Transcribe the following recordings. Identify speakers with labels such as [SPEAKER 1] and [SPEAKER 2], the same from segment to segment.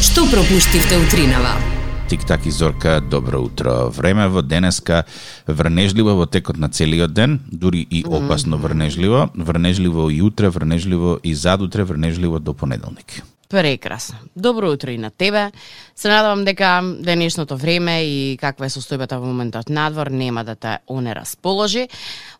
[SPEAKER 1] Што пропуштивте утринава?
[SPEAKER 2] Тик-так и Зорка, добро утро. Време во денеска врнежливо во текот на целиот ден, дури и опасно врнежливо, врнежливо и утре, врнежливо и задутре, врнежливо до понеделник.
[SPEAKER 3] Прекрасно. Добро утро и на тебе. Се надевам дека денешното време и каква е состојбата во моментот надвор нема да те оне расположи.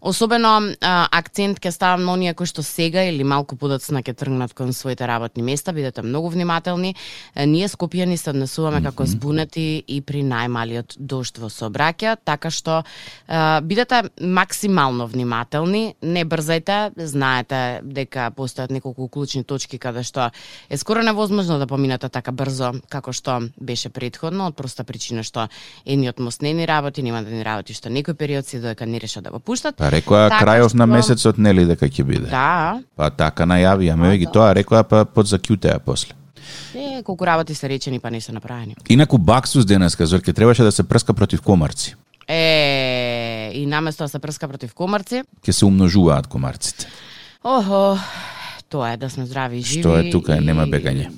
[SPEAKER 3] Особено а, акцент ќе ставам на оние кои што сега или малку подоцна ќе тргнат кон своите работни места, бидете многу внимателни. Е, Ние скопјани се однесуваме како збунати и при најмалиот дожд во сообраќај, така што а, бидете максимално внимателни, не брзајте, знаете дека постојат неколку клучни точки каде што е скоро невозможно да поминете така брзо како што беше предходно, од проста причина што едниот мост не ни работи, нема да ни работи што некој период се додека не решат да го пуштат.
[SPEAKER 2] Па рекоа
[SPEAKER 3] Така
[SPEAKER 2] крајов на
[SPEAKER 3] што-
[SPEAKER 2] месецот нели дека ќе биде.
[SPEAKER 3] Да,
[SPEAKER 2] Па така најавија ме ги тоа, рекоа па подзакјутеа после.
[SPEAKER 3] е, колку работи се речени па не се направени.
[SPEAKER 2] Инаку баксус денеска, Зорке, требаше да се прска против комарци.
[SPEAKER 3] Е, и наместо да се прска против комарци,
[SPEAKER 2] Ке се умножуваат комарците.
[SPEAKER 3] охо, тоа е да сме здрави и живи.
[SPEAKER 2] Што е тука,
[SPEAKER 3] и
[SPEAKER 2] нема бегање.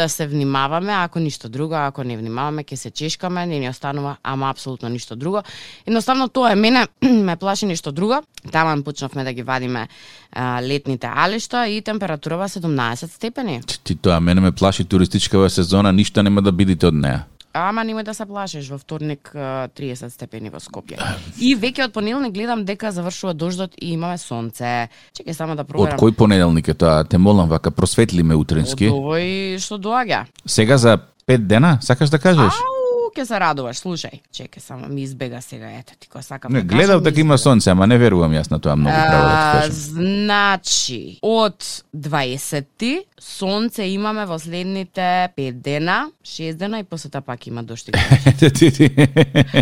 [SPEAKER 3] Да се внимаваме, ако ништо друго, ако не внимаваме, ќе се чешкаме, не ни останува, ама апсолутно ништо друго. Едноставно тоа е мене, ме плаши ништо друго. Таман почнавме да ги вадиме а, летните алишта и температурава 17 степени.
[SPEAKER 2] Ти- Ти тоа мене ме плаши туристичкава сезона, ништо нема да бидите од неа.
[SPEAKER 3] Ама немој да се плашиш, во вторник а, 30 степени во Скопје. И веќе од понеделник гледам дека завршува дождот и имаме сонце. Чекај само да
[SPEAKER 2] Од
[SPEAKER 3] проверам.
[SPEAKER 2] кој понеделник е тоа? Те молам вака просветли ме
[SPEAKER 3] Од
[SPEAKER 2] утрински.
[SPEAKER 3] овој што доаѓа.
[SPEAKER 2] Сега за пет дена сакаш да кажеш?
[SPEAKER 3] Ау, ќе се радуваш, слушај. Чекај само ми избега сега, ето ти кој сакам.
[SPEAKER 2] Не,
[SPEAKER 3] да кажам,
[SPEAKER 2] гледав
[SPEAKER 3] ми
[SPEAKER 2] дека има
[SPEAKER 3] избега.
[SPEAKER 2] сонце, ама не верувам јас на тоа многу право да ти
[SPEAKER 3] А,
[SPEAKER 2] кажам.
[SPEAKER 3] значи, од 20-ти сонце имаме во следните 5 дена, 6 дена и после тоа пак има дошти.
[SPEAKER 2] Ти- Да ти- ти.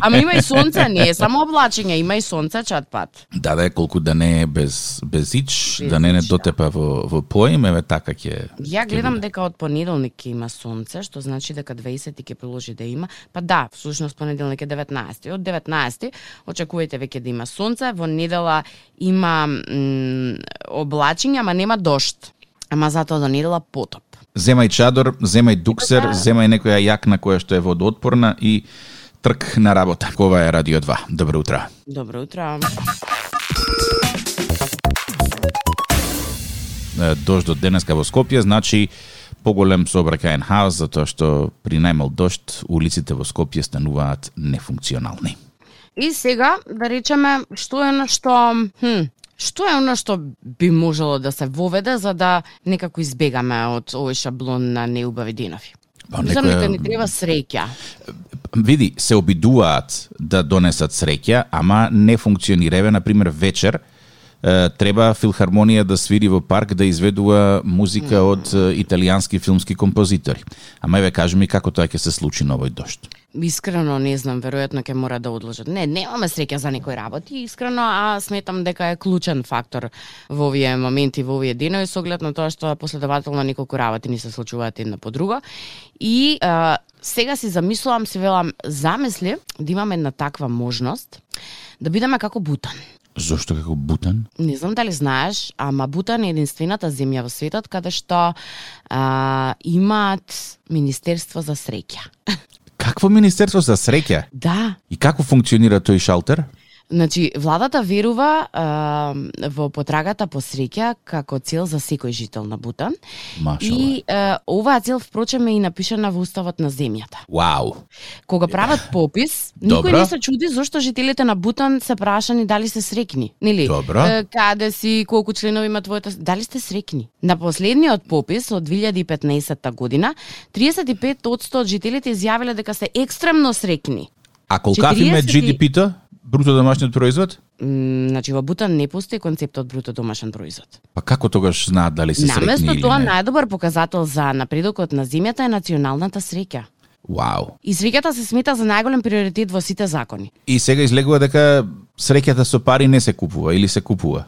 [SPEAKER 3] Ама има и сонце, не е само облачење, има и сонце чат пат.
[SPEAKER 2] Да, да, е колку да не е без без ич,
[SPEAKER 3] Без
[SPEAKER 2] да не не
[SPEAKER 3] ич, да.
[SPEAKER 2] дотепа во во поим, еве така ќе.
[SPEAKER 3] Ја гледам дека од понеделник ќе има сонце, што значи дека 20 ќе продолжи да има. Па да, всушност понеделник е 19. Од 19 очекувате веќе да има сонце, во недела има м, облачење, ама нема дожд. Ама затоа до недела потоп.
[SPEAKER 2] Земај чадор, земај дуксер,
[SPEAKER 3] Да.
[SPEAKER 2] земај некоја јакна која што е водоотпорна и трк на работа. Ова е Радио 2. Добро утро.
[SPEAKER 3] Добро утро.
[SPEAKER 2] Е, Дожд од денеска во Скопје значи поголем сообраќаен хаос затоа што при најмал дожд улиците во Скопје стануваат нефункционални.
[SPEAKER 3] И сега да речеме што е на што хм, Што е оно што би можело да се воведе за да некако избегаме од овој шаблон на неубави денови?
[SPEAKER 2] Па,
[SPEAKER 3] Мислам
[SPEAKER 2] некоја-
[SPEAKER 3] дека ни треба среќа.
[SPEAKER 2] види, се обидуваат да донесат среќа, ама не функциониреве, на пример вечер е, треба филхармонија да свири во парк да изведува музика од е, италијански филмски композитори. Ама еве кажи ми како тоа ќе се случи на овој дожд.
[SPEAKER 3] Искрено не знам, веројатно ќе мора да одложат. Не, немаме среќа за некои работи, искрено, а сметам дека е клучен фактор во овие моменти, во овие денови, со оглед на тоа што последователно неколку работи ни се случуваат една по друга. И а, сега си замислувам, си велам, замисли да имаме една таква можност да бидеме како Бутан.
[SPEAKER 2] Зошто како бутан?
[SPEAKER 3] Не знам дали знаеш, ама Бутан е единствената земја во светот каде што а, имаат Министерство за среќа.
[SPEAKER 2] Какво министерство за среќа?
[SPEAKER 3] Да,
[SPEAKER 2] И како функционира тој шалтер?
[SPEAKER 3] Значи, владата верува а, во потрагата по среќа како цел за секој жител на Бутан.
[SPEAKER 2] Машала.
[SPEAKER 3] И а, оваа цел, впрочем, е и напишана во Уставот на земјата.
[SPEAKER 2] Вау.
[SPEAKER 3] Кога прават попис, никој
[SPEAKER 2] да. Добра.
[SPEAKER 3] не се чуди зошто жителите на Бутан се прашани дали се срекни, нели?
[SPEAKER 2] Добра.
[SPEAKER 3] Е, Каде си, колку членови има твојата, дали сте срекни? На последниот попис од 2015 година, 35% од жителите изјавиле дека се екстремно срекни.
[SPEAKER 2] А колкав им е
[SPEAKER 3] 40 и-
[SPEAKER 2] GDP-то? Бруто домашниот производ?
[SPEAKER 3] М, Значи, во Бутан не постои концептот бруто домашен производ.
[SPEAKER 2] Па како тогаш знаат дали се среќни
[SPEAKER 3] Наместо
[SPEAKER 2] или
[SPEAKER 3] тоа,
[SPEAKER 2] не?
[SPEAKER 3] најдобар показател за напредокот на земјата е националната среќа.
[SPEAKER 2] Вау.
[SPEAKER 3] И среќата се смета за најголем приоритет во сите закони.
[SPEAKER 2] И сега излегува дека среќата со пари не се купува или се купува.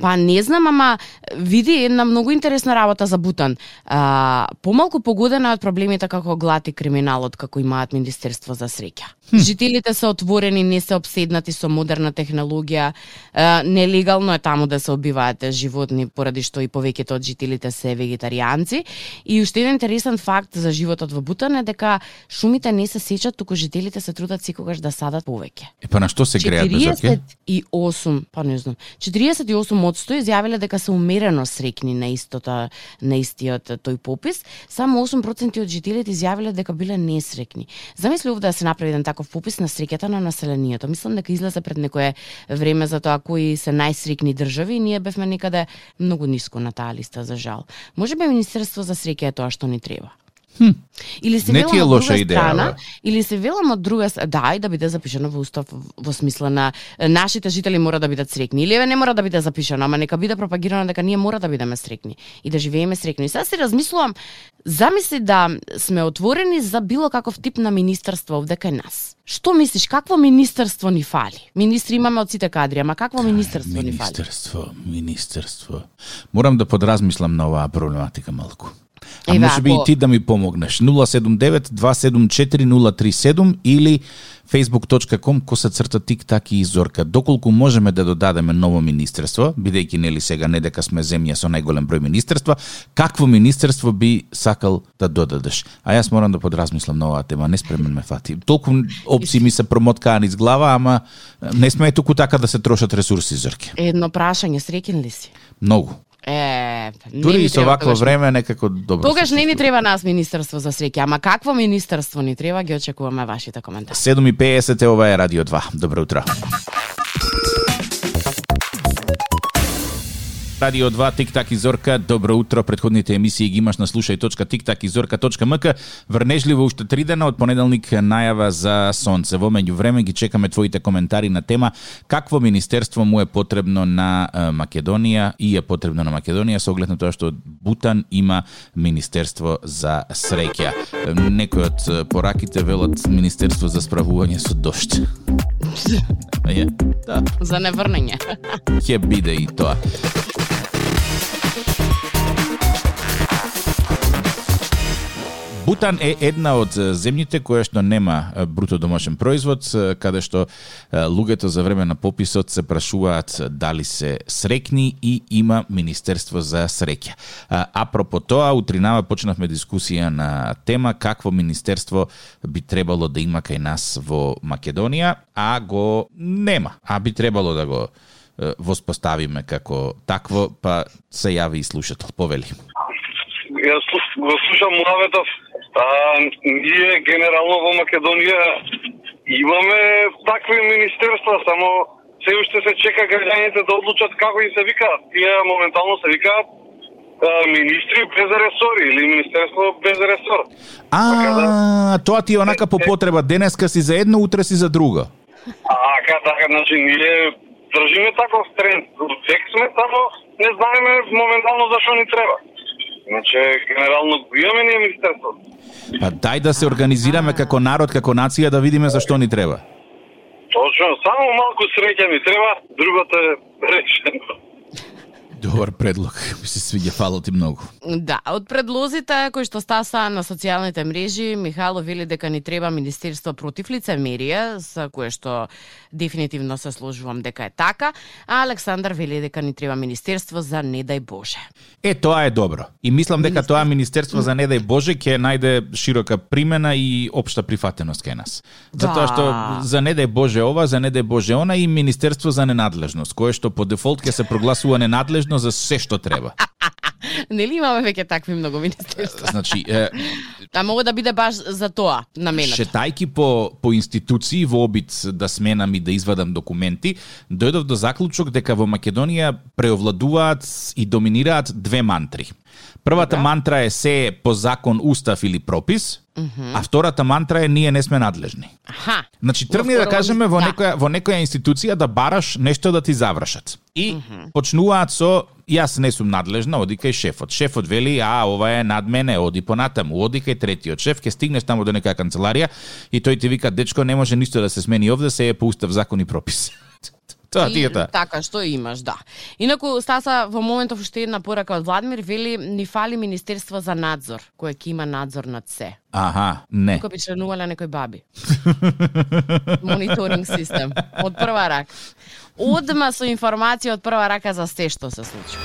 [SPEAKER 3] Па не знам, ама види една многу интересна работа за Бутан. А, помалку погодена од проблемите како глад и криминалот како имаат Министерство за среќа. Жителите се отворени, не се обседнати со модерна технологија. Е, Нелегално е таму да се убиваат животни, поради што и повеќето од жителите се вегетаријанци. И уште еден интересен факт за животот во Бутан е дека шумите не се сечат, туку жителите се трудат секогаш да садат повеќе.
[SPEAKER 2] Е, па на што се греат безоке?
[SPEAKER 3] 48, па не знам, 48 одстои изјавиле дека се умерено срекни на истото на истиот тој попис, само 8% од жителите изјавиле дека биле несрекни. Замисли овде да се направи еден таков попис на среќата на населението. Мислам дека излезе пред некое време за тоа кои се најсрекни држави и ние бевме некаде многу ниско на таа листа за жал. Може би Министерство за среќа е тоа што ни треба. Или се
[SPEAKER 2] Не
[SPEAKER 3] велам
[SPEAKER 2] ти е
[SPEAKER 3] од
[SPEAKER 2] лоша
[SPEAKER 3] друга
[SPEAKER 2] идеја,
[SPEAKER 3] страна,
[SPEAKER 2] бе.
[SPEAKER 3] или се велам од друга с- да, и да биде запишано во устав во смисла на е, нашите жители мора да бидат срекни, или еве не мора да биде запишано, ама нека биде пропагирано дека ние мора да бидеме срекни и да живееме срекни. И сега си размислувам, замисли да сме отворени за било каков тип на министерство овде кај нас. Што мислиш, какво министерство ни фали? Министри имаме од сите кадри, ама какво министерство ни фали?
[SPEAKER 2] Министерство, министерство. Морам да подразмислам на оваа проблематика малку. А
[SPEAKER 3] Еве,
[SPEAKER 2] може би и
[SPEAKER 3] ако-
[SPEAKER 2] ти да ми помогнеш. 079-274-037 или facebook.com коса црта тик так и зорка. Доколку можеме да додадеме ново министерство, бидејќи нели сега не дека сме земја со најголем број министерства, какво министерство би сакал да додадеш? А јас морам да подразмислам на оваа тема, не спремен ме фати. Толку опции ми се промоткаани из глава, ама не сме туку така да се трошат ресурси, зорке.
[SPEAKER 3] Едно прашање, среќен ли си?
[SPEAKER 2] Многу.
[SPEAKER 3] Е, па, не
[SPEAKER 2] Дури
[SPEAKER 3] ми
[SPEAKER 2] и со
[SPEAKER 3] треба да
[SPEAKER 2] вакво
[SPEAKER 3] тогаш
[SPEAKER 2] време некако добро.
[SPEAKER 3] Тогаш
[SPEAKER 2] се
[SPEAKER 3] не ни
[SPEAKER 2] чувствувам.
[SPEAKER 3] треба нас министерство за среќа, ама какво министерство ни треба, ги очекуваме вашите коментари.
[SPEAKER 2] 7.50 е ова е Радио 2. Добро утро. Радио 2, Тик-так и Зорка, добро утро. Предходните емисии ги имаш на слушај точка тик-так и зорка.мк. Врнежливо уште три дена од понеделник најава за сонце. Во меѓувреме ги чекаме твоите коментари на тема какво министерство му е потребно на е, Македонија и е потребно на Македонија со оглед на тоа што Бутан има министерство за среќа. Е, Некои од е, пораките велат министерство за справување со дошт. Е, да,
[SPEAKER 3] За неврнење.
[SPEAKER 2] ќе биде и тоа. Бутан е една од е, земјите која што нема е, бруто домашен производ, е, каде што е, луѓето за време на пописот се прашуваат е, дали се срекни и има Министерство за среќа. А, Апропо тоа, утринава почнавме дискусија на тема какво Министерство би требало да има кај нас во Македонија, а го нема, а би требало да го е, воспоставиме како такво, па се јави и слушател. Повели.
[SPEAKER 1] Ја слу- го слушам Муаветов. А, ние генерално во Македонија имаме такви министерства, само се уште се чека граѓаните да одлучат како им се викаат. Тие моментално се викаат а, министри без ресори или министерство без ресор.
[SPEAKER 2] А, тоа ти Така да. е онака по потреба. Денеска си за едно, утре си за друго.
[SPEAKER 1] А така, така, значи ние држиме таков тренд. Век сме, само не знаеме моментално зашо ни треба. Значи, генерално го имаме ние министерството.
[SPEAKER 2] Па дај да се организираме како народ, како нација, да видиме зашто ни треба.
[SPEAKER 1] Точно, само малку среќа ми треба, другото е решено.
[SPEAKER 2] Добар предлог. Ми се свиѓа, фала ти многу.
[SPEAKER 3] Да, од предлозите кои што стаса на социјалните мрежи, Михайло вели дека ни треба министерство против лицемерие, за кое што дефинитивно се сложувам дека е така, а Александар вели дека ни треба министерство за не дај Боже.
[SPEAKER 2] Е, тоа е добро. И мислам дека тоа Министерство за не дај Боже ќе најде широка примена и општа прифатеност кај нас. Затоа
[SPEAKER 3] Да.
[SPEAKER 2] што за не дај Боже ова, за не дај Боже она и Министерство за ненадлежност, кое што по дефолт ќе се прогласува ненадлежно за се што треба.
[SPEAKER 3] Нели имаме веќе такви многу министерства?
[SPEAKER 2] Значи, е,
[SPEAKER 3] А мога да биде баш за тоа, наменето.
[SPEAKER 2] Шетајки по по институции во обид да сменам и да извадам документи, дојдов до заклучок дека во Македонија преовладуваат и доминираат две мантри. Првата мантра е се е по закон, устав или пропис, а втората мантра е ние не сме надлежни.
[SPEAKER 3] Аха.
[SPEAKER 2] Значи тргни да
[SPEAKER 3] второ-
[SPEAKER 2] кажеме во
[SPEAKER 3] да.
[SPEAKER 2] некоја во некоја институција да бараш нешто да ти завршат. И почнуваат со јас не сум надлежна, оди кај шефот. Шефот вели, а ова е над мене, оди понатаму, оди кај третиот шеф, ќе стигнеш таму до некоја канцеларија и тој ти вика, дечко, не може ништо да се смени овде, се е по устав, закон и пропис. Тоа
[SPEAKER 3] И
[SPEAKER 2] ти е таа.
[SPEAKER 3] Така што имаш, да. Инаку Стаса во моментов уште една порака од Владимир вели ни фали министерство за надзор, кое ќе има надзор над се.
[SPEAKER 2] Аха, не.
[SPEAKER 3] Тука би членувале некој баби. Мониторинг систем од прва рака. Одма со информација од прва рака за се што се случува.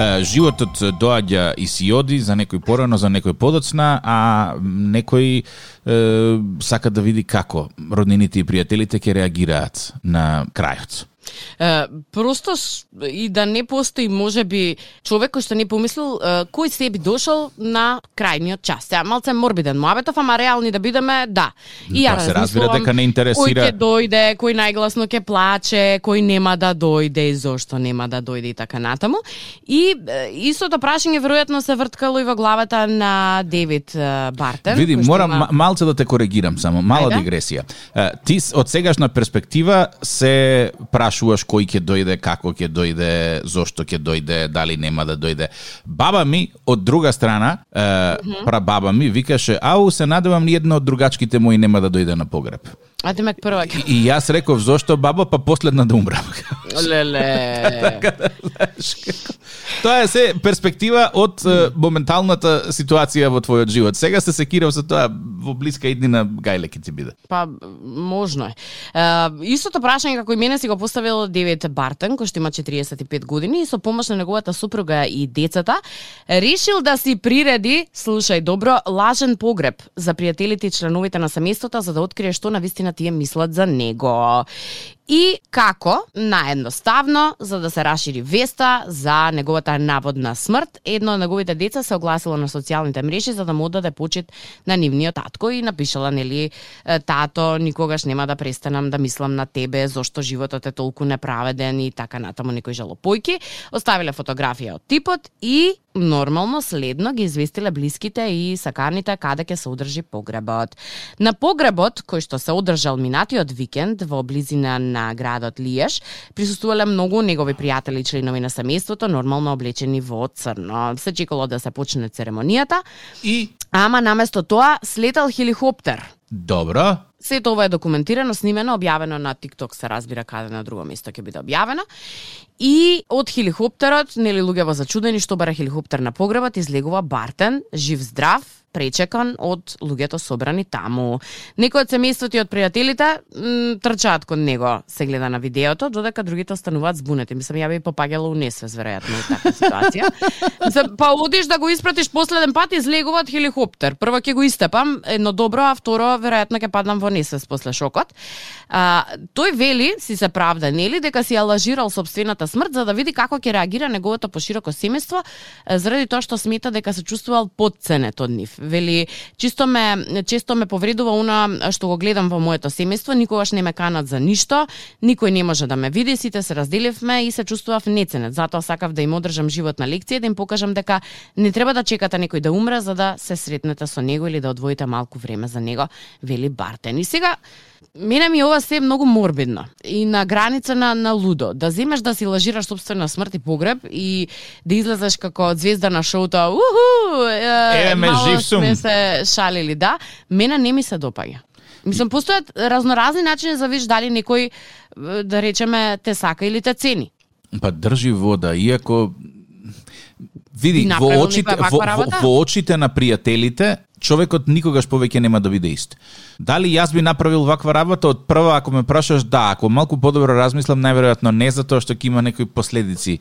[SPEAKER 2] Е, Животот доаѓа и си оди, за некој порано, за некој подоцна, а некој е, сака да види како роднините и пријателите ќе реагираат на крајот.
[SPEAKER 3] Е, просто ш- и да не постои можеби човек кој што не помислил е, кој се би дошол на крајниот час. Сега малце морбиден муабетов, ама реални да бидеме, да. И ја
[SPEAKER 2] Да, се разбира
[SPEAKER 3] размислувам
[SPEAKER 2] дека не интересира-
[SPEAKER 3] Кој ќе дојде, кој најгласно ќе плаче, кој нема да дојде и зошто нема да дојде и така натаму. И е, истото прашање веројатно се врткало и во главата на Девид е, Бартен.
[SPEAKER 2] Види,
[SPEAKER 3] кој Да, што
[SPEAKER 2] морам
[SPEAKER 3] има-
[SPEAKER 2] ма- малце да те коригирам само, мала
[SPEAKER 3] Ајде.
[SPEAKER 2] дигресија. Е, Ти с- од сегашна перспектива се прашуваш кој ќе дојде, како ќе дојде, зошто ќе дојде, дали нема да дојде. Баба ми од друга страна, е, прабаба ми викаше: "Ау, се надевам ни една од другачките мои нема да дојде на погреб."
[SPEAKER 3] Ајде мек прва ќе-
[SPEAKER 2] И јас реков зошто баба па последна да умрам.
[SPEAKER 3] Леле.
[SPEAKER 2] Тоа е се перспектива од е, моменталната ситуација во твојот живот. Сега се секирав за тоа во блиска иднина гајле ќе ти биде.
[SPEAKER 3] Па, можно е. е истото прашање како и мене си го поставил Девет Бартен, кој што има 45 години и со помош на неговата супруга и децата, решил да си приреди, слушај добро, лажен погреб за пријателите и членовите на семејството за да открие што на вистина тие мислат за него. И како, наедноставно, за да се рашири веста за неговата наводна смрт, едно од неговите деца се огласило на социјалните мрежи за да му одаде почит на нивниот татко и напишала, нели, е, тато, никогаш нема да престанам да мислам на тебе, зошто животот е толку неправеден и така натаму некои жалопојки. Оставиле фотографија од типот и нормално следно ги известиле блиските и саканите каде ќе се одржи погребот. На погребот, кој што се одржал минатиот викенд во близина на градот Лиеш, присуствувале многу негови пријатели и членови на семејството, нормално облечени во црно. Се чекало да се почне церемонијата,
[SPEAKER 2] И
[SPEAKER 3] ама наместо тоа слетал хелихоптер.
[SPEAKER 2] Добро.
[SPEAKER 3] Сето ова е документирано, снимено, објавено на TikTok, се разбира каде на друго место ќе биде објавено. И од хелихоптерот, нели луѓе во зачудени што бара хелихоптер на погребот, излегува Бартен, жив здрав, пречекан од луѓето собрани таму. Некои од семејството и од пријателите м, трчаат кон него, се гледа на видеото, додека другите остануваат збунети. Мислам, ја би попаѓала у несвес, веројатно, у таква ситуација. Мислам, па одиш да го испратиш последен пат, излегува од хеликоптер. Прво ќе го истепам, едно добро, а второ, веројатно ќе паднам во несвес после шокот. А, тој вели, си се правда, нели, дека си ја лажирал собствената смрт за да види како ќе реагира неговото пошироко семејство, е, заради тоа што смета дека се чувствувал подценет од нив. Вели, чисто ме, често ме повредува она што го гледам во моето семејство, никогаш не ме канат за ништо, никој не може да ме види, сите се разделивме и се чувствував неценет. Затоа сакав да им одржам животна лекција, да им покажам дека не треба да чекате некој да умре за да се сретнете со него или да одвоите малку време за него, вели Бартен. И сега Мене ми ова се е многу морбидно и на граница на, на лудо. Да земеш да си лажираш собствена смрт и погреб и да излезеш како звезда на шоуто, уху, е,
[SPEAKER 2] Е, ме,
[SPEAKER 3] мало
[SPEAKER 2] жив сум.
[SPEAKER 3] сме се шалили, да. Мене не ми се допаѓа. Мислам, постојат разноразни начини за да видиш дали некој, е, да речеме, те сака или те цени.
[SPEAKER 2] Па држи вода, иако
[SPEAKER 3] Ти
[SPEAKER 2] види во
[SPEAKER 3] направил
[SPEAKER 2] очите
[SPEAKER 3] некоја
[SPEAKER 2] во,
[SPEAKER 3] ваква
[SPEAKER 2] во,
[SPEAKER 3] работа?
[SPEAKER 2] во очите на пријателите човекот никогаш повеќе нема да биде ист. Дали јас би направил ваква работа од прва ако ме прашаш да, ако малку подобро размислам најверојатно не затоа што ќе има некои последици.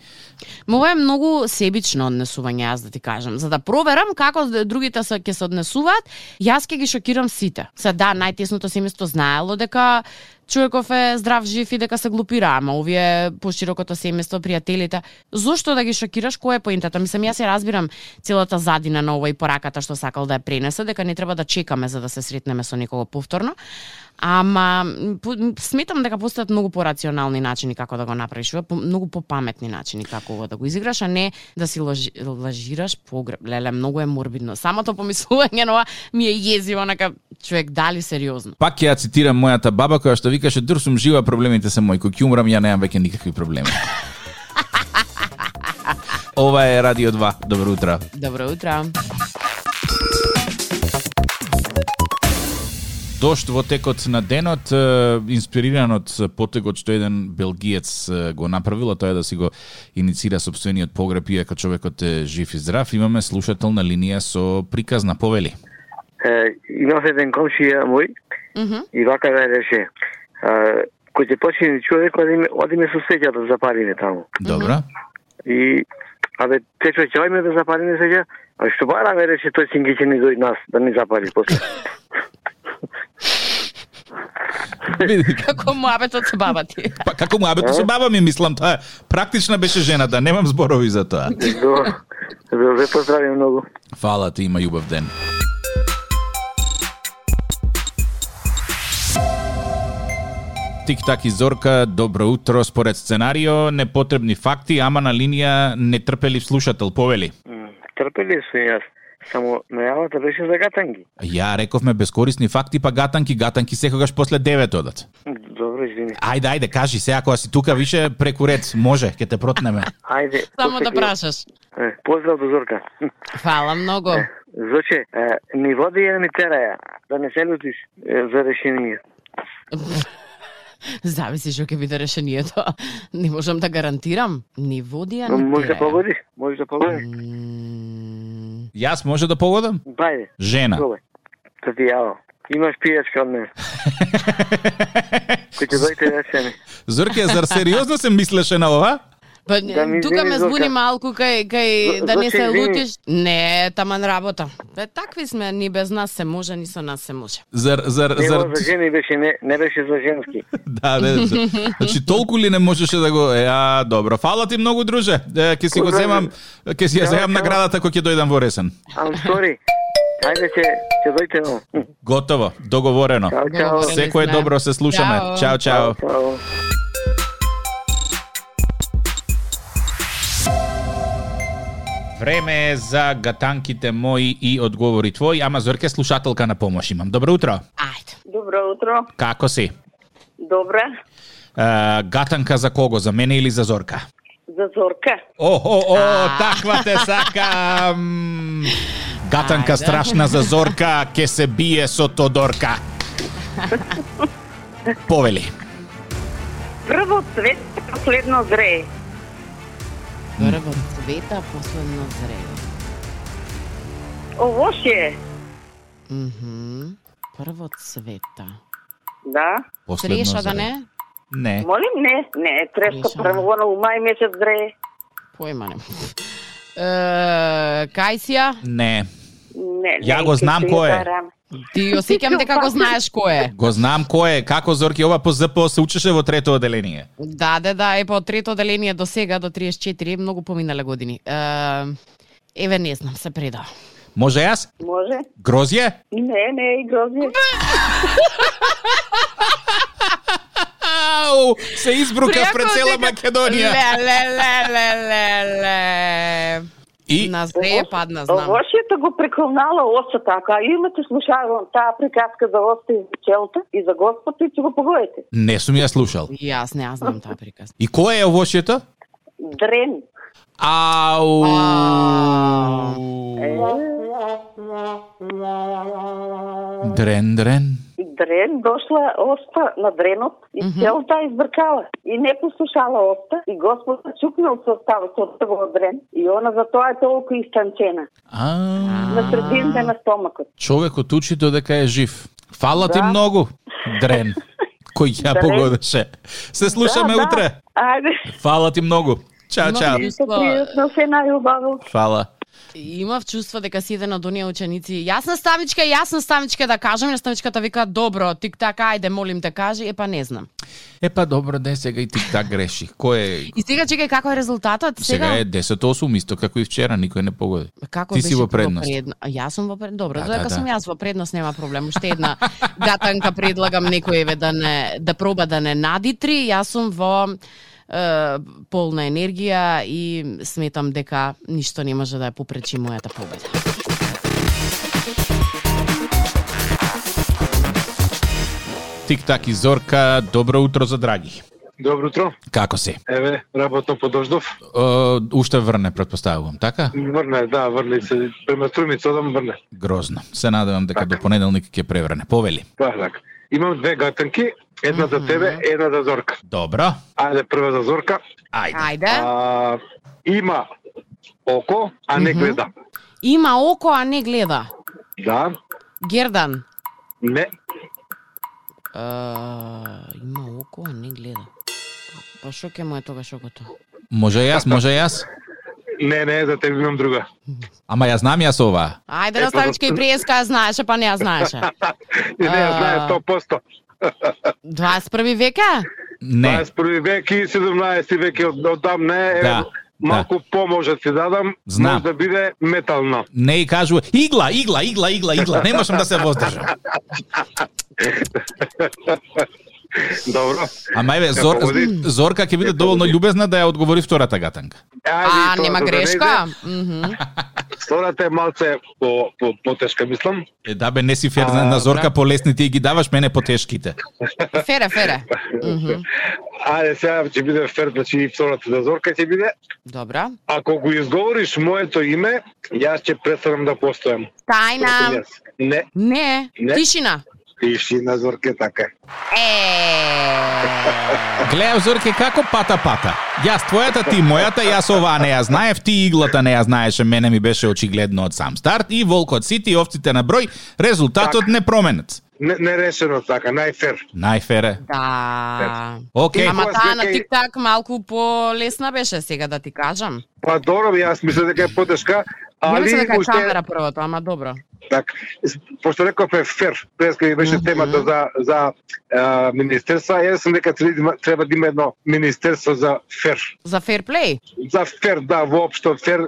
[SPEAKER 3] Ма ова е многу себично однесување, јас да ти кажам. За да проверам како д- другите се ќе се однесуваат, јас ќе ги шокирам сите. Се да, најтесното семејство знаело дека човеков е здрав, жив и дека се глупира, ама овие поширокото семејство, пријателите, зошто да ги шокираш кој е поентата? Мислам, јас ја разбирам целата задина на ова и пораката што сакал да ја пренесе, дека не треба да чекаме за да се сретнеме со некого повторно, Ама м, по- м, сметам дека постојат многу порационални начини како да го направиш, ова, по, многу попаметни начини како ова да го изиграш, а не да си лажи, лажираш погреб. Леле, многу е морбидно. Самото помислување на ова ми е језиво, нека човек дали сериозно.
[SPEAKER 2] Пак ќе ја цитирам мојата баба која што викаше дур сум жива, проблемите се мои, кога ќе умрам ја немам веќе никакви проблеми. Ова е Радио 2. Добро утро.
[SPEAKER 3] Добро утро.
[SPEAKER 2] дошт во текот на денот, е, инспириран од потегот што еден белгиец е, го направил, а тоа е да си го иницира собствениот погреб, иако човекот е жив и здрав, имаме слушателна линија со приказ на повели.
[SPEAKER 4] Е, имав еден комшија мој
[SPEAKER 3] Мгм.
[SPEAKER 4] и вака ме реше. е, Кој ќе почини човек, одиме, одиме со сеќа да запалиме таму.
[SPEAKER 2] Добро?
[SPEAKER 4] И, абе, течо, ќе одиме да запалиме сеќа, а што бара ме реше, тој синги ќе ни дојде нас, да ни запали после.
[SPEAKER 2] Види,
[SPEAKER 3] Како муабетот со баба ти.
[SPEAKER 2] Па како му абето со баба ми мислам таа практична беше жената, немам зборови за тоа.
[SPEAKER 4] Добро, добро, ве поздравим многу.
[SPEAKER 2] Фала ти, има љубав ден. Тик-так и Зорка, добро утро, според сценарио, непотребни факти, ама на линија нетрпелив слушател, повели.
[SPEAKER 4] М, Трпели сум јас, само најавата беше за гатанги.
[SPEAKER 2] Ја рековме бескорисни факти, па гатанки, гатанки секогаш после 9 одат.
[SPEAKER 4] Добро, извини.
[SPEAKER 2] Ајде, ајде, кажи се, ако си тука више преку ред, може, ке те протнеме.
[SPEAKER 4] Ајде.
[SPEAKER 3] Само да
[SPEAKER 4] почекај.
[SPEAKER 3] прашаш.
[SPEAKER 4] Е, Поздрав до Зорка.
[SPEAKER 3] Фала многу.
[SPEAKER 4] Зоче, е, ни води ја ни тераја, да не се лутиш е, за решение.
[SPEAKER 3] Зависи што ќе биде решението. Не можам да гарантирам. Ни водија,
[SPEAKER 4] Но
[SPEAKER 3] ни
[SPEAKER 4] може да
[SPEAKER 3] тераја.
[SPEAKER 4] погодиш, може да погодиш.
[SPEAKER 3] Мм,
[SPEAKER 2] Јас може да погодам?
[SPEAKER 4] Бајде,
[SPEAKER 2] Жена.
[SPEAKER 4] добре. Да ти јаво. Имаш пијачка од мене. Кој ќе дојте речени.
[SPEAKER 2] Зорке, зар сериозно се мислеше на ова?
[SPEAKER 3] Па
[SPEAKER 4] Да ми
[SPEAKER 3] тука
[SPEAKER 4] извини,
[SPEAKER 3] ме
[SPEAKER 4] Зорка.
[SPEAKER 3] збуни малку кај кај
[SPEAKER 4] Зо-
[SPEAKER 3] да не
[SPEAKER 4] Зорке,
[SPEAKER 3] се
[SPEAKER 4] значи, извини.
[SPEAKER 3] лутиш. Не, таман работа. Бе, такви сме, ни без нас се може, ни со нас се може.
[SPEAKER 2] Зар, зар,
[SPEAKER 4] Не
[SPEAKER 2] зар...
[SPEAKER 4] за жени беше, не, не беше за женски.
[SPEAKER 2] Да, не, за- значи толку ли не можеше да го... Е, а, добро. Фала ти многу, друже. Е, ке си го земам, ке си ја земам наградата кој ќе дојдам во Ресен.
[SPEAKER 4] I'm sorry. Ајде ќе ќе дојте но.
[SPEAKER 2] Готово, договорено.
[SPEAKER 4] Чао, чао.
[SPEAKER 3] Добро.
[SPEAKER 2] Секое
[SPEAKER 3] сме.
[SPEAKER 2] добро, се слушаме.
[SPEAKER 3] Чао.
[SPEAKER 2] Чао, чао.
[SPEAKER 4] да Чао.
[SPEAKER 2] Време е за гатанките мои и одговори твои, ама Зорке слушателка на помош имам. Добро утро.
[SPEAKER 3] Ајде.
[SPEAKER 5] Добро утро.
[SPEAKER 2] Како си?
[SPEAKER 5] Добра.
[SPEAKER 2] Е, гатанка за кого? За мене или за Зорка?
[SPEAKER 5] За Зорка.
[SPEAKER 2] О, о, о, таква те сакам. Гатанка
[SPEAKER 3] Ајде.
[SPEAKER 2] страшна за Зорка, ке се бие со Тодорка. Повели.
[SPEAKER 5] Прво цвет, последно зрее.
[SPEAKER 3] Прво цвета, последно зрело.
[SPEAKER 5] Овошје.
[SPEAKER 3] Мгм. Прво цвета.
[SPEAKER 5] Да.
[SPEAKER 2] Последно
[SPEAKER 3] Треша да
[SPEAKER 2] зре.
[SPEAKER 3] не?
[SPEAKER 2] Не.
[SPEAKER 5] Молим, не, не, трешка
[SPEAKER 3] Ништо.
[SPEAKER 5] прво на мај месец зрее.
[SPEAKER 3] Појма немам. Е, Кајсија,
[SPEAKER 2] Не.
[SPEAKER 5] Не, не,
[SPEAKER 2] Ја го
[SPEAKER 5] ќе
[SPEAKER 2] знам
[SPEAKER 5] се
[SPEAKER 2] кој е.
[SPEAKER 5] изарам.
[SPEAKER 3] ти осеќам дека го знаеш кој е.
[SPEAKER 2] Го знам кој е, како Зорки ова по ЗПО се учеше во трето оделение.
[SPEAKER 3] Да, да, да, е по трето оделение до сега, до 34, многу поминале години. Е, еве не знам, се предава.
[SPEAKER 2] Може јас?
[SPEAKER 5] Може?
[SPEAKER 2] Грозје?
[SPEAKER 5] Не, не, и грозни.
[SPEAKER 2] Ау, се избрука пред цела Македонија.
[SPEAKER 3] Ле, ле, ле, ле, ле, ле.
[SPEAKER 2] И
[SPEAKER 3] На зре падна, знам.
[SPEAKER 5] Овошјето да го преклонала осата, ако ја имате слушарон таа приказка за оста и за пчелта и за Господ, и ќе го погодите.
[SPEAKER 2] не сум ја слушал.
[SPEAKER 3] И Јас не, јас знам таа приказ.
[SPEAKER 2] И кој е овошјето?
[SPEAKER 5] Дрен.
[SPEAKER 2] Ау. Дрен, дрен.
[SPEAKER 5] Дрен дошла оста на дренот и пчелта избркала и не послушала оста и Господ ја чукнал со става со оставо дрен и она затоа е толку истанчена
[SPEAKER 2] А,
[SPEAKER 5] на средината на стомакот.
[SPEAKER 2] човекот учи додека е жив. Фала ти
[SPEAKER 5] Да.
[SPEAKER 2] многу, Дрен, кој ја
[SPEAKER 5] Дрен.
[SPEAKER 2] погодеше. Се слушаме
[SPEAKER 5] да.
[SPEAKER 2] утре.
[SPEAKER 5] Ајде,
[SPEAKER 2] Фала ти многу. Чао,
[SPEAKER 3] Многу
[SPEAKER 2] чао.
[SPEAKER 3] ви
[SPEAKER 5] се
[SPEAKER 3] Слава.
[SPEAKER 5] пријатно се најубаво.
[SPEAKER 2] Фала.
[SPEAKER 3] Имав чувство дека си еден од оние ученици. Јас наставничка, јас наставничка да кажам, и наставничката вика добро, тик так, ајде, молим те кажи, е па не знам.
[SPEAKER 2] Е па добро, ден сега и ти так греши. Кој е?
[SPEAKER 3] И сега чекај како е резултатот? Сега,
[SPEAKER 2] Сега е 10-8, исто како и вчера, никој не погоди.
[SPEAKER 3] Како
[SPEAKER 2] ти
[SPEAKER 3] беше
[SPEAKER 2] си во
[SPEAKER 3] како
[SPEAKER 2] предност.
[SPEAKER 3] предно- А, Јас сум во предност. Добро,
[SPEAKER 2] Да,
[SPEAKER 3] да, додека
[SPEAKER 2] да, да.
[SPEAKER 3] сум јас во предност нема проблем. Уште една гатанка предлагам некој еве да не да проба да не надитри. Јас сум во е, полна енергија и сметам дека ништо не може да ја попречи мојата победа.
[SPEAKER 2] Тик так и Зорка, добро утро за драги.
[SPEAKER 6] Добро утро.
[SPEAKER 2] Како се?
[SPEAKER 6] Еве, работно по Дождов.
[SPEAKER 2] Е, уште врне, предпоставувам, така?
[SPEAKER 6] Врне, да, врне се. Према струмица одам врне.
[SPEAKER 2] Грозно. Се надевам дека
[SPEAKER 6] Така.
[SPEAKER 2] до понеделник ќе преврне. Повели.
[SPEAKER 6] Тоа е така. Имам две гатанки, една за тебе, една за Зорка.
[SPEAKER 2] Добро.
[SPEAKER 6] Ајде прва за Зорка.
[SPEAKER 2] Ајде.
[SPEAKER 3] Ајде.
[SPEAKER 6] А, има око, а не гледа.
[SPEAKER 3] Има око, а не гледа.
[SPEAKER 6] Да,
[SPEAKER 3] Гердан.
[SPEAKER 6] не,
[SPEAKER 3] Е, има око, а не гледа. Па што ќе му е тогаш окото?
[SPEAKER 2] Може јас, може јас.
[SPEAKER 6] не, не, за тебе имам друга.
[SPEAKER 2] Ама ја знам јас ова.
[SPEAKER 3] Ајде, Раставичка и Приеска ја знаеше, па не ја знаеше.
[SPEAKER 6] Не, не,
[SPEAKER 3] А.
[SPEAKER 6] знае 100%.
[SPEAKER 3] 21 века?
[SPEAKER 2] Не.
[SPEAKER 6] 21 век и 17 век е од, одам, не, Па, е,
[SPEAKER 2] Да,
[SPEAKER 6] малку поможе ти дадам,
[SPEAKER 2] Знам.
[SPEAKER 6] може да биде метално.
[SPEAKER 2] Не и кажува игла, игла, игла, игла, игла. Не можам да се воздржам.
[SPEAKER 6] Добро.
[SPEAKER 2] Ама еве Зор,
[SPEAKER 6] погоди.
[SPEAKER 2] Зорка ќе биде доволно
[SPEAKER 6] па,
[SPEAKER 2] љубезна да ја одговори втората гатанка.
[SPEAKER 6] Ајде,
[SPEAKER 3] А,
[SPEAKER 6] и тоа
[SPEAKER 3] нема
[SPEAKER 6] да не
[SPEAKER 3] грешка?
[SPEAKER 6] иде.
[SPEAKER 3] Мгм.
[SPEAKER 6] Втората е малце по, по, потешка, мислам.
[SPEAKER 2] Е, да бе, не си фер
[SPEAKER 6] А,
[SPEAKER 2] на, на Зорка
[SPEAKER 6] брат.
[SPEAKER 2] полесните и ги даваш мене по тешките.
[SPEAKER 3] Фере, фере. Мгм.
[SPEAKER 6] Ајде, сега ќе биде фер, значи и втората за Зорка ќе биде.
[SPEAKER 3] Добра.
[SPEAKER 6] Ако го изговориш моето име, јас ќе престанам да постојам.
[SPEAKER 3] Тајна.
[SPEAKER 6] Јас. Не,
[SPEAKER 3] Не.
[SPEAKER 6] Не.
[SPEAKER 3] Тишина.
[SPEAKER 6] пиши на Зорке така.
[SPEAKER 3] Е.
[SPEAKER 2] Гледај Зорке како пата пата. Јас твојата, ти мојата, јас оваа не ја знаев, ти иглата не ја знаеше, мене ми беше очигледно од сам старт и волкот сити, овците на број, резултатот не променет.
[SPEAKER 6] Не, не решено така, најфер.
[SPEAKER 2] Најфере.
[SPEAKER 3] Да.
[SPEAKER 2] Океј.
[SPEAKER 3] Ама
[SPEAKER 6] Никола
[SPEAKER 3] таа на
[SPEAKER 6] Свекеј-
[SPEAKER 3] тик-так малку полесна беше сега да ти кажам.
[SPEAKER 6] Па добро, бе, јас мислам дека е потешка,
[SPEAKER 3] Али
[SPEAKER 6] али
[SPEAKER 3] дека е
[SPEAKER 6] уште
[SPEAKER 3] камера првото, ама добро.
[SPEAKER 6] така. Пошто рековме фер, преска ми беше темата за за а, министерства, јас сум дека треба да има- треба да има едно министерство за фер.
[SPEAKER 3] За ферплей?
[SPEAKER 6] За фер, да, воопшто фер.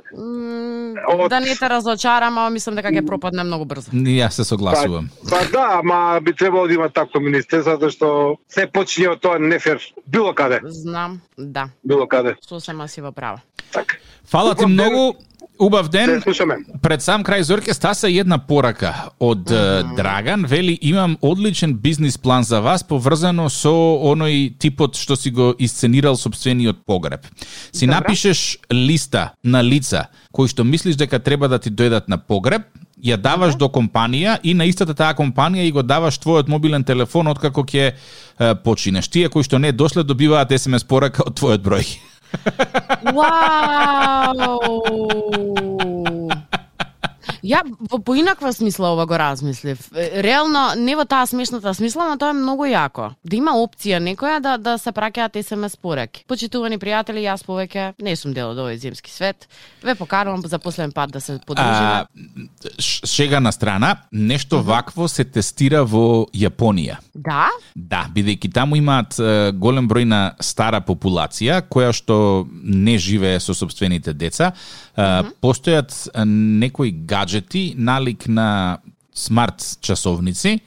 [SPEAKER 6] Од-
[SPEAKER 3] Да не те разочарам, ама мислам дека ќе пропадне многу брзо.
[SPEAKER 2] Јас се согласувам.
[SPEAKER 6] Па да, ама би требало да има такво министерство, затоа што се почине од тоа нефер. Било каде,
[SPEAKER 3] Знам, да.
[SPEAKER 6] било каде.
[SPEAKER 3] Сосема си во права.
[SPEAKER 6] Така.
[SPEAKER 2] Фала ти
[SPEAKER 6] Убав ден.
[SPEAKER 2] многу. Убав ден.
[SPEAKER 6] Се слушаме.
[SPEAKER 2] Пред сам крај Зорке стаса една порака од е, Драган, вели имам одличен бизнис план за вас поврзано со оној типот што си го исценирал собствениот погреб. Си напишеш листа на лица кои што мислиш дека треба да ти дојдат на погреб, ја даваш до компанија и на истата таа компанија и го даваш твојот мобилен телефон откако ќе е, починеш. Тие кои што не дошле добиваат SMS порака од твојот број.
[SPEAKER 3] Вау! Ја во поинаква смисла ова го размислив. Е, Реално не во таа смешната смисла, но тоа е многу јако. Да има опција некоја да да се праќаат SMS пораки. Почитувани пријатели, јас повеќе не сум дел од овој земски свет. Ве поканувам за последен пат да се подружиме.
[SPEAKER 2] А, ш- шега на страна, нешто вакво се тестира во Јапонија.
[SPEAKER 3] Да?
[SPEAKER 2] Да, бидејќи таму имаат е, голем број на стара популација која што не живее со собствените деца, е, постојат е, некои гаджети налик на смарт часовници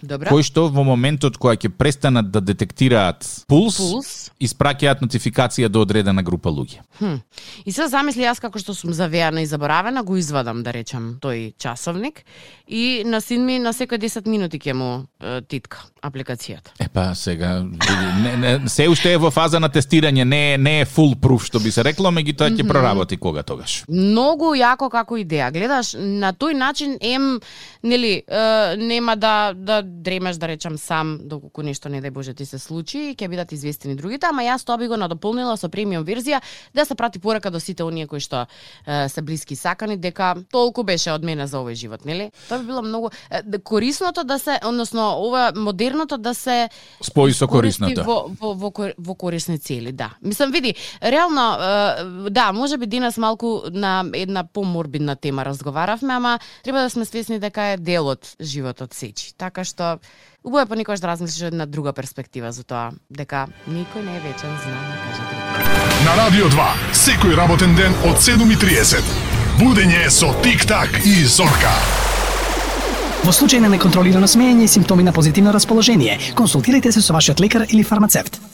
[SPEAKER 3] Добра.
[SPEAKER 2] кои што во моментот кога ќе престанат да детектираат пулс,
[SPEAKER 3] Пулс.
[SPEAKER 2] испраќаат нотификација до одредена група луѓе.
[SPEAKER 3] Хм. И се замисли јас како што сум завеана и заборавена, го извадам да речам тој часовник и на син ми на секој 10 минути ќе му е, титка апликацијата.
[SPEAKER 2] Е па сега види, не, не, се уште е во фаза на тестирање, не е- не е full proof што би се рекло, меѓутоа ќе проработи кога тогаш.
[SPEAKER 3] Многу јако како идеја. Гледаш, на тој начин ем нели е, нема да да дремеш да речам сам доколку нешто не дај боже ти се случи и ќе бидат известени другите, ама јас тоа би го надополнила со премиум верзија да се прати порака до сите оние кои што е, се блиски и сакани дека толку беше од мене за овој живот, нели? Тоа би било многу е, д- корисното да се, односно ова модерното да се
[SPEAKER 2] Спои со
[SPEAKER 3] користи
[SPEAKER 2] корисното.
[SPEAKER 3] Во, во, во, кор- во корисни цели, да. Мислам, види, реално, е, да, може би денес малку на една поморбидна тема разговаравме, ама треба да сме свесни дека е дел од животот сечи. Така што, убаво е понекогаш да размислиш од една друга перспектива за тоа, дека никој не е вечен, знам, кажа друг.
[SPEAKER 7] На Радио 2, секој работен ден од 7.30. Будење со Тик-так и Зорка.
[SPEAKER 8] Во случај на неконтролирано смеење и симптоми на позитивно расположение, консултирајте се со вашиот лекар или фармацевт.